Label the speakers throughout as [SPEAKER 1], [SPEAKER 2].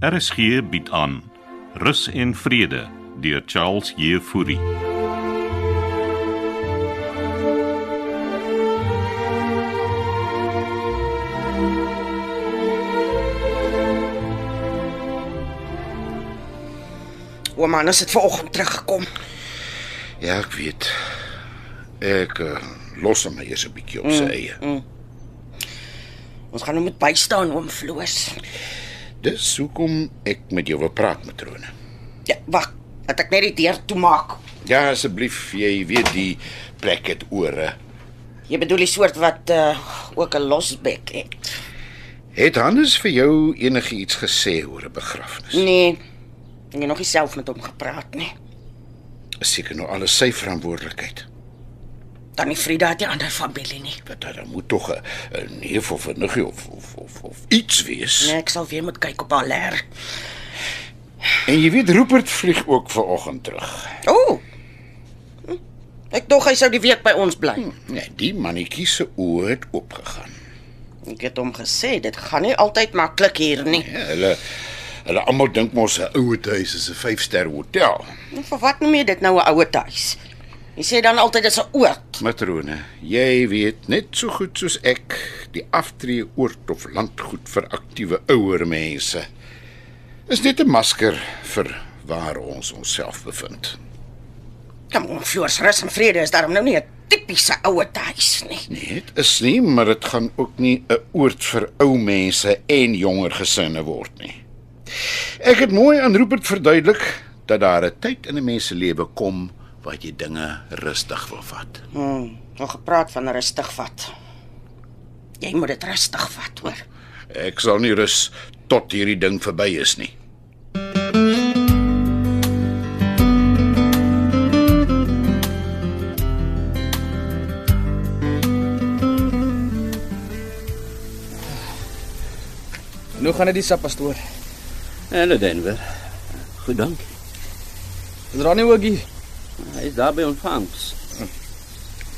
[SPEAKER 1] RSG bied aan Rus en Vrede deur Charles Jefouri.
[SPEAKER 2] Ouma, ons het vanoggend teruggekom.
[SPEAKER 3] Ja, ek weet. Ek uh, los hom maar eers 'n bietjie op sy eie.
[SPEAKER 2] Ons gaan hom moet bystaan oom Floos.
[SPEAKER 3] Dis hoekom ek met jou wil praat, matrone.
[SPEAKER 2] Ja, wag, dat ek net die deur toemaak.
[SPEAKER 3] Ja, asseblief, jy weet die plek het ore.
[SPEAKER 2] Jy bedoel die soort wat uh, ook 'n losbek het.
[SPEAKER 3] Het Hannes vir jou enige iets gesê oor 'n begrafnis?
[SPEAKER 2] Nee. Ek het nog nie self met hom gepraat nie.
[SPEAKER 3] Is seker nou alles sy verantwoordelikheid.
[SPEAKER 2] Dan die Frida het nie ander familie nie.
[SPEAKER 3] Dat daar moet tog 'n- 'n neef of 'n niggie of of of, of iets wees.
[SPEAKER 2] Nee, ek sal weer moet kyk op haar leer.
[SPEAKER 3] En jy weet Rupert vlieg ook vanoggend terug.
[SPEAKER 2] Ooh. Hm, Ek dink hy sou die week by ons bly.
[SPEAKER 3] Nee, die mannetjie se oë het opgegaan.
[SPEAKER 2] Ek het hom gesê dit gaan nie altyd maklik hier nie.
[SPEAKER 3] Ja, hulle hulle almal dink mos 'n ouer huis is 'n 5-ster hotel.
[SPEAKER 2] Nou, Vir wat noem jy dit nou 'n ouer huis? Jy sê dan altyd dis 'n oord.
[SPEAKER 3] Matrone, jy weet net so goed soos ek die aftree oort of landgoed vir aktiewe ouer mense. Is net 'n masker vir waar ons onsself bevind.
[SPEAKER 2] Kom oom Floos, rus en vrede is daarom nou nie 'n tipiese ouer huis nie.
[SPEAKER 3] Nee, dit is nie, maar dit gaan ook nie 'n oord vir ou mense en jonger gesinne word nie. Ek het mooi aan Rupert verduidelik dat daar 'n tyd in 'n mens se lewe kom wat jy dinge rustig wil vat.
[SPEAKER 2] Hmm, nog gepraat van rustig vat. Jy moet dit rustig vat, hoor.
[SPEAKER 3] Ek sal nie rus tot hierdie ding verby is nie.
[SPEAKER 4] Nou gaan dit die sap pastoor.
[SPEAKER 5] Hallo Denver. Goed dankie.
[SPEAKER 4] Is Ronnie ook hier?
[SPEAKER 5] Hy is daar by ontvangs.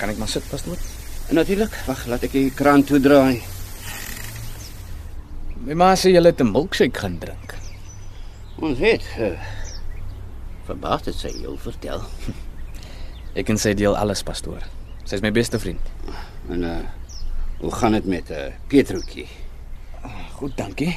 [SPEAKER 4] Kan ek maar sit pastoor?
[SPEAKER 5] En natuurlik, wag, laat ek die kraan toe draai.
[SPEAKER 4] My ma sê jy het 'n milkshake gaan drink.
[SPEAKER 5] Ons het uh, verbaas dit sy jou vertel.
[SPEAKER 4] Ek en sy deel alles pastoor. Sy's my beste vriend.
[SPEAKER 5] En uh hoe gaan dit met uh Petroetjie?
[SPEAKER 4] Goed, dankie.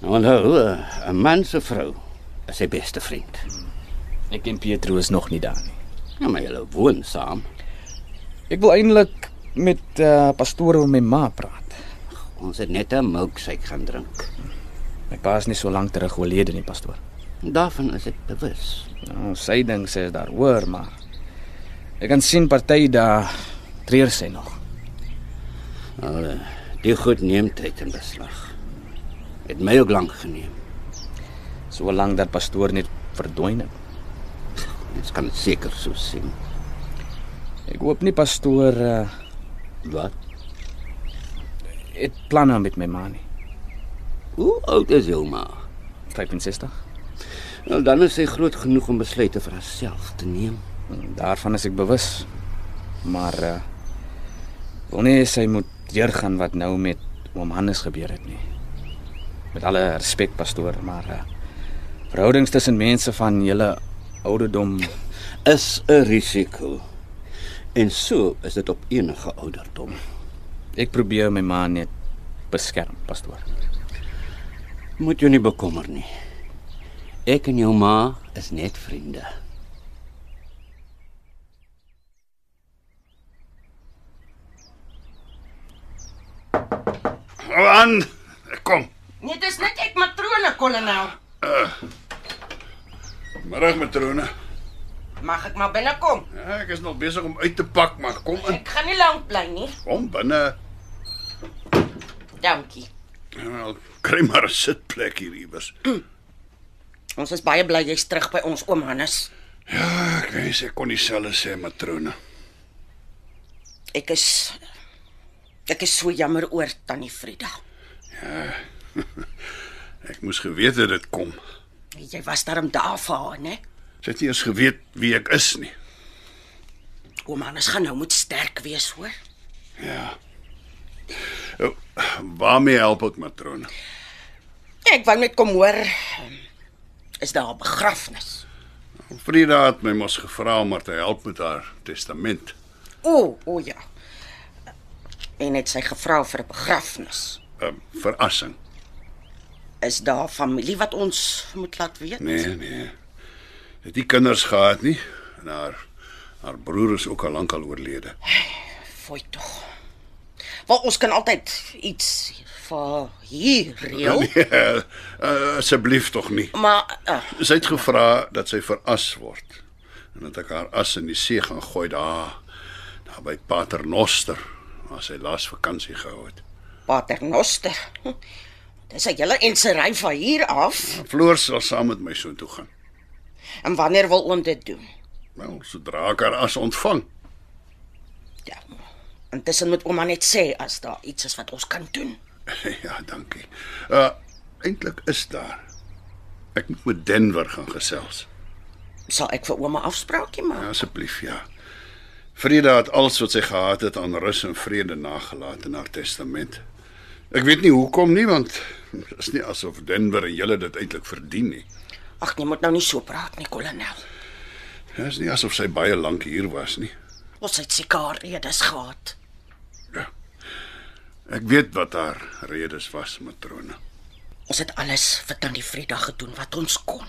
[SPEAKER 5] Nou onthou, uh, 'n man se vrou is sy beste vriend.
[SPEAKER 4] Ek en Pietro is nog nie daar nie.
[SPEAKER 5] Ja, maar julle woon saam.
[SPEAKER 4] Ek wil eintlik met uh, pastoor oor my ma praat.
[SPEAKER 5] Ons het net 'n milkshake gaan drink.
[SPEAKER 4] My pa is nie so lank terug oorlede nie pastoor.
[SPEAKER 5] Daarvan is ek bewus.
[SPEAKER 4] Nou, sy dink sy is daar hoor, maar ek kan sien party daar treur sy nog.
[SPEAKER 5] Al uh, die goed neem tyd in beslag. Het my ook lank geneem.
[SPEAKER 4] So lank dat pastoor net verdwyn het.
[SPEAKER 5] Ons kan dit seker so sien.
[SPEAKER 4] Ek hoop nie pastoor uh,
[SPEAKER 5] Wat?
[SPEAKER 4] het planne met my ma nie.
[SPEAKER 5] Hoe oud is Hilma?
[SPEAKER 4] 65.
[SPEAKER 5] Nou dan is sy groot genoeg om besluite vir haarself te neem.
[SPEAKER 4] Daarvan is ek bewus. Maar uh wil nie sy moet deurgaan wat nou met oom Hannes gebeur het nie. Met alle respek pastoor, maar uh verhoudings tussen mense van julle ouderdom
[SPEAKER 5] Is 'n risiko. En so is dit op enige ouderdom.
[SPEAKER 4] ek probeer my ma net beskerm pastoor.
[SPEAKER 5] Moet jou nie bekommer nie. Ek en jou ma is net vriende.
[SPEAKER 3] Hou aan. Kom.
[SPEAKER 2] Nee, dis net ek matrone kolonel.
[SPEAKER 3] Middag matrone.
[SPEAKER 2] Mag ek maar binnekom?
[SPEAKER 3] Ja, ek is nog besig om uit te pak, maar kom in.
[SPEAKER 2] Ek gaan nie lank bly nie.
[SPEAKER 3] Kom binne.
[SPEAKER 2] Dankie.
[SPEAKER 3] Nou, kry maar 'n sitplek hier iewers.
[SPEAKER 2] Ons is baie bly jy's terug by ons oom Hannes.
[SPEAKER 3] Ja, ek wens ek kon dieselfde sê, matrone.
[SPEAKER 2] Ek is ek is so jammer oor tannie Frida.
[SPEAKER 3] Ek moes geweet het dit kom.
[SPEAKER 2] Jy was daarom daar vir haar, né?
[SPEAKER 3] Sy het nie eens geweet wie ek is nie.
[SPEAKER 2] Oom Hannes gaan nou moet sterk wees, hoor.
[SPEAKER 3] Ja. O, Waarmee help ek matrone?
[SPEAKER 2] Ek wou net kom hoor ehm, is daar 'n begrafnis.
[SPEAKER 6] Frida het my mos gevra om haar te help met haar testament.
[SPEAKER 2] O, o ja. En het sy gevra vir 'n begrafnis.
[SPEAKER 3] ehm,
[SPEAKER 6] 'n Verrassing.
[SPEAKER 2] Is daar familie wat ons moet laat weet?
[SPEAKER 6] Nee, nee. Het die kinders gehad nie en haar haar broer is ook al lank al oorlede.
[SPEAKER 2] Fooi tog. Maar ons kan altyd iets vir hier reël,
[SPEAKER 3] Nee.
[SPEAKER 6] Eh, eh, Asseblief tog nie.
[SPEAKER 2] maar uh,
[SPEAKER 6] Sy het gevra dat sy veras word en dat ek haar as in die see gaan gooi daar daar by Paternoster waar sy laas vakansie gehou het.
[SPEAKER 2] Paternoster. Dis 'n hele ensery van hier af.
[SPEAKER 6] Floor sal saam met my soontoe gaan.
[SPEAKER 2] En wanneer wil oom dit doen?
[SPEAKER 6] Wel, sodra ek haar as ontvang.
[SPEAKER 2] Ja. Intussen moet ouma net sê as daar iets is wat ons kan doen.
[SPEAKER 6] ja, dankie. Uh eintlik is daar. Ek moet met Denver gaan gesels.
[SPEAKER 2] Sal ek vir ouma afspraakie maak?
[SPEAKER 6] Ja, asseblief, ja. Frida het alles wat sy gehad het aan rus en vrede nagelaat in haar testament. Ek weet nie hoekom nie want dit is nie asof Denver en julle dit eintlik verdien nie.
[SPEAKER 2] Ag, jy moet nou nie so praat nie, kolonel.
[SPEAKER 6] Dit is nie asof sy baie lank hier was nie.
[SPEAKER 2] Ons het seker redes gehad.
[SPEAKER 6] Ja. Ek weet wat haar redes was, matrone.
[SPEAKER 2] Ons het alles vir tannie Frieda gedoen wat ons kon.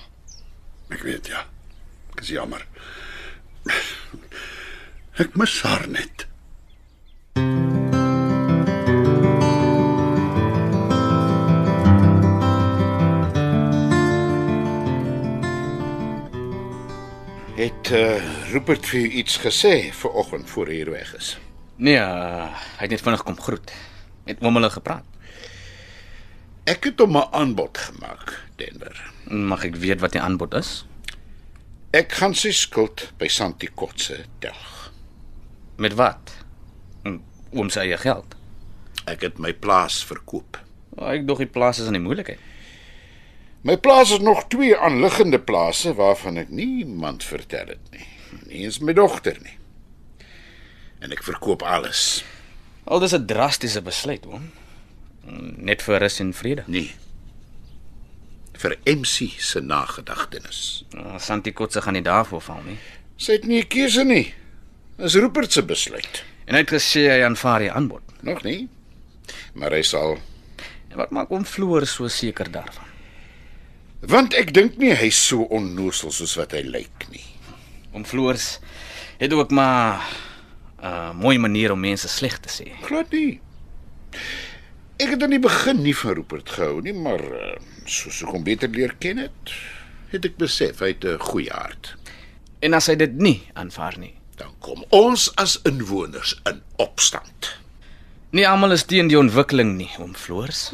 [SPEAKER 6] Ek weet ja. Ek is jammer. Ek mis haar net.
[SPEAKER 3] Het uh, Rupert vir u iets gesê vanoggend voor hy hier weg is?
[SPEAKER 4] Nee, uh, hy het net vinnig kom groet. Het oom hulle gepraat.
[SPEAKER 3] Ek het hom 'n aanbod gemaak, Denver.
[SPEAKER 4] Mag ek weet wat die aanbod is?
[SPEAKER 3] Ek gaan sy skuld by Santi Kotse delg.
[SPEAKER 4] Met wat? Hm, Oom se eie geld.
[SPEAKER 3] Ek het my plaas verkoop.
[SPEAKER 4] Oh, ek dog die plaas is in die moeilikheid.
[SPEAKER 3] My plaas is nog twee aanliggende plase waarvan ek niemand vertel het nie. Nie eens my dogter nie. En ek verkoop alles.
[SPEAKER 4] Al dis 'n drastiese besluit, oom. Net vir rus en vrede.
[SPEAKER 3] Nee. Vir MC se nagedagtenis.
[SPEAKER 4] Oh, Santi Kotse gaan nie daarvoor val nie.
[SPEAKER 3] Sy het nie 'n keuse nie. Dis Rupert se besluit.
[SPEAKER 4] En hy het gesê hy aanvaar die aanbod.
[SPEAKER 3] Nog nie. Maar hy sal
[SPEAKER 4] En wat maak oom Floor so seker daarvan?
[SPEAKER 3] want ek dink nie hy's so onnoosel soos wat hy lyk nie.
[SPEAKER 4] Oom Floors het ook maar 'n uh, mooi manier om mense sleg te sê.
[SPEAKER 3] Glad nie. Ek het aan die begin nie van Rupert gehou nie, maar eh, soos ek hom beter leer ken het, het ek besef hy het 'n goeie hart.
[SPEAKER 4] En as hy dit nie aanvaar nie.
[SPEAKER 3] Dan kom ons as inwoners in opstand.
[SPEAKER 4] Nie almal is teen die ontwikkeling nie, oom Floors.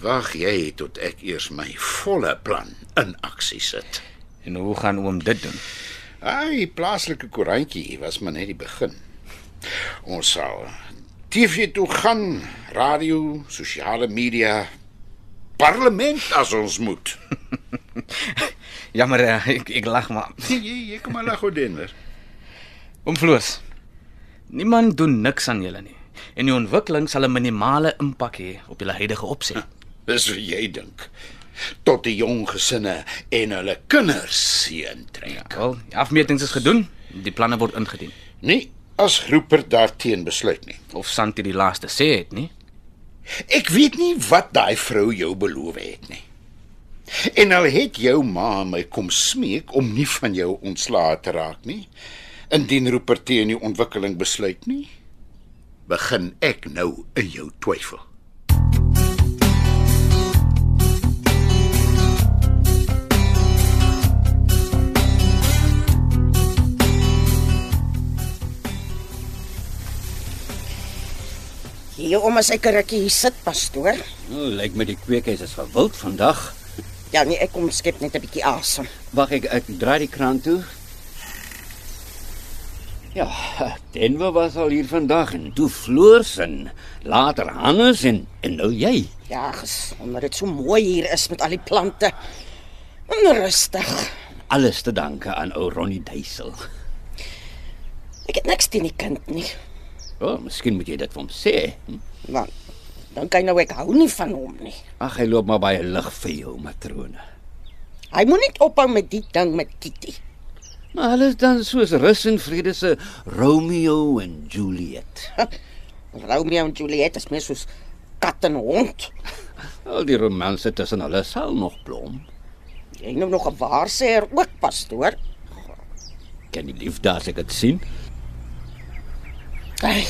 [SPEAKER 3] Wag jy tot ek eers my volle plan in aksie sit.
[SPEAKER 4] En hoe gaan oom dit doen?
[SPEAKER 3] Ai, plaaslike koerantjie was maar net die begin. Ons sal TV toe gaan, radio, sosiale media, parlement as ons moet.
[SPEAKER 4] Jammer, eh, ek ek lag maar.
[SPEAKER 3] Jy jy kom maar lag Odenner.
[SPEAKER 4] Oom Floors. Niemand doen niks aan julle nie. En die ontwikkeling sal 'n minimale impak hê op julle huidige opset.
[SPEAKER 3] Dis wat jy dink. Tot die jong gesinne en hulle kinders seën trek.
[SPEAKER 4] Wel, die afmetings is gedoen, die planne word ingedien.
[SPEAKER 3] Nie as Rupert daarteen besluit nie.
[SPEAKER 4] Of Santi die laaste sê het nie.
[SPEAKER 3] Ek weet nie wat daai vrou jou beloof het nie. En al het jou ma my kom smeek om nie van jou ontslae te raak nie, indien Rupert teen die ontwikkeling besluit nie, begin ek nou in jou twyfel.
[SPEAKER 2] Hier ouma sy karretjie hier sit, pastoor.
[SPEAKER 5] Nou, lyk my die kweekhuis is gewild vandag.
[SPEAKER 2] Ja, nee, ek kom skep net 'n bietjie asem.
[SPEAKER 5] Wag ek ek draai die kraan toe. Ja, Denver was al hier vandag en toe Floors en later Hannes en en nou jy.
[SPEAKER 2] Ja, ges, omdat dit so mooi hier is met al die plante. En rustig.
[SPEAKER 5] Alles te danke aan ou Ronnie Duisel.
[SPEAKER 2] Ek het niks teen die kind nie,
[SPEAKER 5] O, oh, miskien moet jy dit vir hom sê.
[SPEAKER 2] want Dink hy nou ek hou nie van hom nie.
[SPEAKER 5] Ag, hy loop maar baie lig vir jou, matrone.
[SPEAKER 2] Hy moet net ophou met die ding met Kitty.
[SPEAKER 5] Maar hulle is dan soos rus en vrede se Romeo en Juliet.
[SPEAKER 2] Romeo en Juliet is meer soos kat en hond.
[SPEAKER 5] Al die romanse tussen hulle sal nog blom.
[SPEAKER 2] Jy nou nog 'n waarsêer ook, pastoor.
[SPEAKER 5] Ken die liefde as ek dit sien?
[SPEAKER 2] Ai.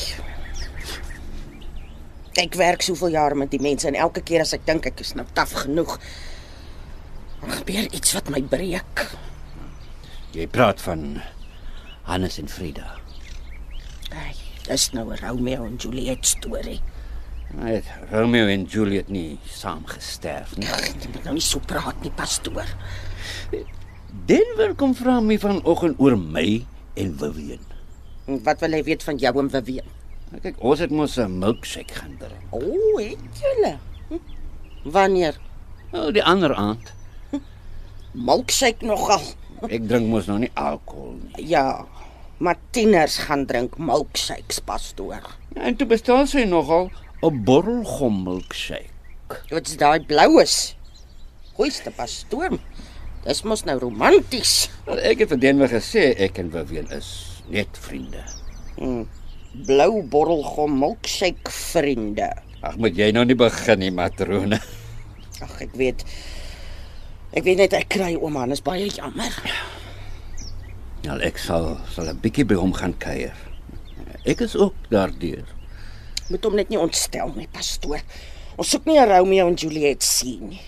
[SPEAKER 2] Ek werk soveel jare met die mense en elke keer as ek dink ek is nou taaf genoeg, dan gebeur iets wat my breek.
[SPEAKER 5] Jy praat van Hannes en Frida.
[SPEAKER 2] Ai, dis nou 'n Romeo en Juliet storie.
[SPEAKER 5] Hy het Romeo en Juliet nie saam gesterf nie.
[SPEAKER 2] Ag, jy moet nou nie so praat nie, pastoor.
[SPEAKER 5] Denver kom vra my vanoggend oor my en Vivian.
[SPEAKER 2] En Wat wil hy weet van jou en Vivian?
[SPEAKER 5] Nou, Kyk, ons het mos 'n milkshake gaan drink.
[SPEAKER 2] O, oh, het julle? Hm? Wanneer?
[SPEAKER 5] Nou die ander aand.
[SPEAKER 2] Milkshake nogal.
[SPEAKER 5] Ek drink mos nou nie alkohol nie.
[SPEAKER 2] Ja. Maar tieners gaan drink milkshakes, pastoor.
[SPEAKER 5] Ja, en toe bestel sy nogal 'n borrelgom milkshake.
[SPEAKER 2] Wat's daai bloues? Goeiste pastoor. Dis mos nou romanties.
[SPEAKER 5] Wel, ek het vir Denver gesê ek en Vivian is net vriende.
[SPEAKER 2] Blou borrelgom milkshake vriende.
[SPEAKER 5] Ag, moet jy nou nie begin nie, matrone.
[SPEAKER 2] Ag, ek weet. Ek weet net ek kry oom Hannes baie jammer.
[SPEAKER 5] Nou ek sal sal 'n bietjie by hom gaan kuier. Ek is ook daardeur.
[SPEAKER 2] Moet hom net nie ontstel nie, pastoor. Ons soek nie 'n Romeo en Juliet sien nie.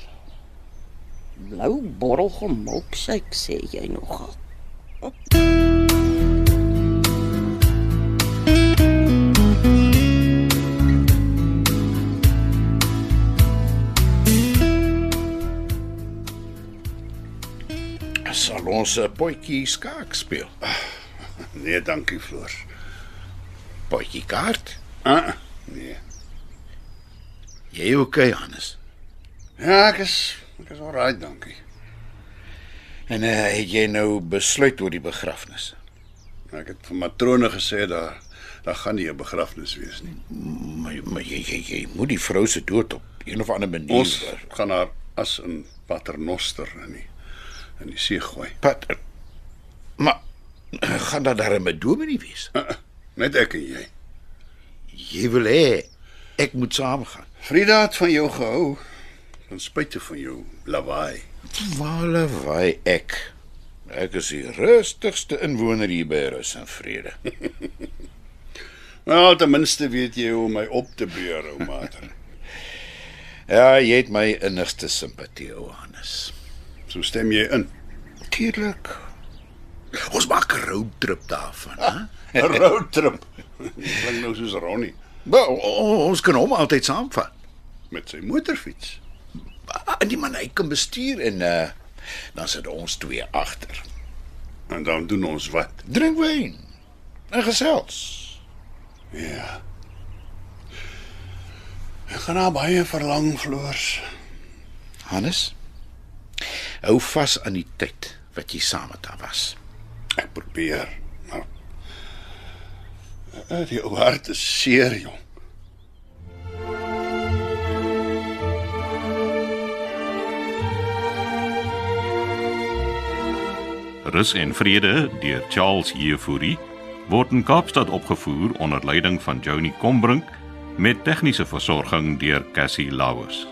[SPEAKER 2] Blou borrelgom milkshake sê jy nogal.
[SPEAKER 3] Sal ons 'n eh, potjie skaak speel?
[SPEAKER 6] Nee, dankie, Floor.
[SPEAKER 3] Potjie kaart?
[SPEAKER 6] Ah, uh, nee.
[SPEAKER 3] Jy eh, okay, Hannes?
[SPEAKER 6] Ja, ek is ek is alraai, dankie.
[SPEAKER 3] En uh, het jy nou besluit oor die begrafnis?
[SPEAKER 6] Ek het vir matrone gesê daar daar gaan nie 'n begrafnis wees nie.
[SPEAKER 3] Maar, maar jy, jy jy moet die vrou se dood op een of ander manier
[SPEAKER 6] Ons gaan haar as in paternoster in die in die see gooi.
[SPEAKER 3] pad. Maar gaan dat daar 'n dominee wees?
[SPEAKER 6] Uh, uh, net ek en jy.
[SPEAKER 3] Jy wil hê ek moet saamgaan.
[SPEAKER 6] Frida het van jou gehou. Ten spyte van jou lawaai.
[SPEAKER 3] Wale wy ek. Ek is die rustigste inwoner hier by Rus en Vrede.
[SPEAKER 6] Nou, ten minste weet jy hoe om my op te beur, ou mater.
[SPEAKER 3] Ja, jy het my innigste simpatie, Johannes.
[SPEAKER 6] So stem jy in.
[SPEAKER 3] Natuurlik. Ons maak 'n roadtrip daarvan, hè?
[SPEAKER 6] 'n Roadtrip. Klink nou soos Ronnie
[SPEAKER 3] Maar o- o- ons kan hom altyd saamvat.
[SPEAKER 6] met sy motorfiets.
[SPEAKER 3] En die man hy kan bestuur en uh dan sit ons twee agter.
[SPEAKER 6] En dan doen ons wat?
[SPEAKER 3] Drink wyn en gesels.
[SPEAKER 6] Ja. Ek gaan na baie verlang floors.
[SPEAKER 3] Hannes, hou vas aan die tyd wat jy saam met haar was.
[SPEAKER 6] Ek probeer, maar Eh, die ou hart is seer, jong.
[SPEAKER 1] Rus en Vrede deur Charles Jefouri word in Kaapstad opgevoer onder leiding van Johnny Combrink met tegniese versorging deur Cassie Lauers.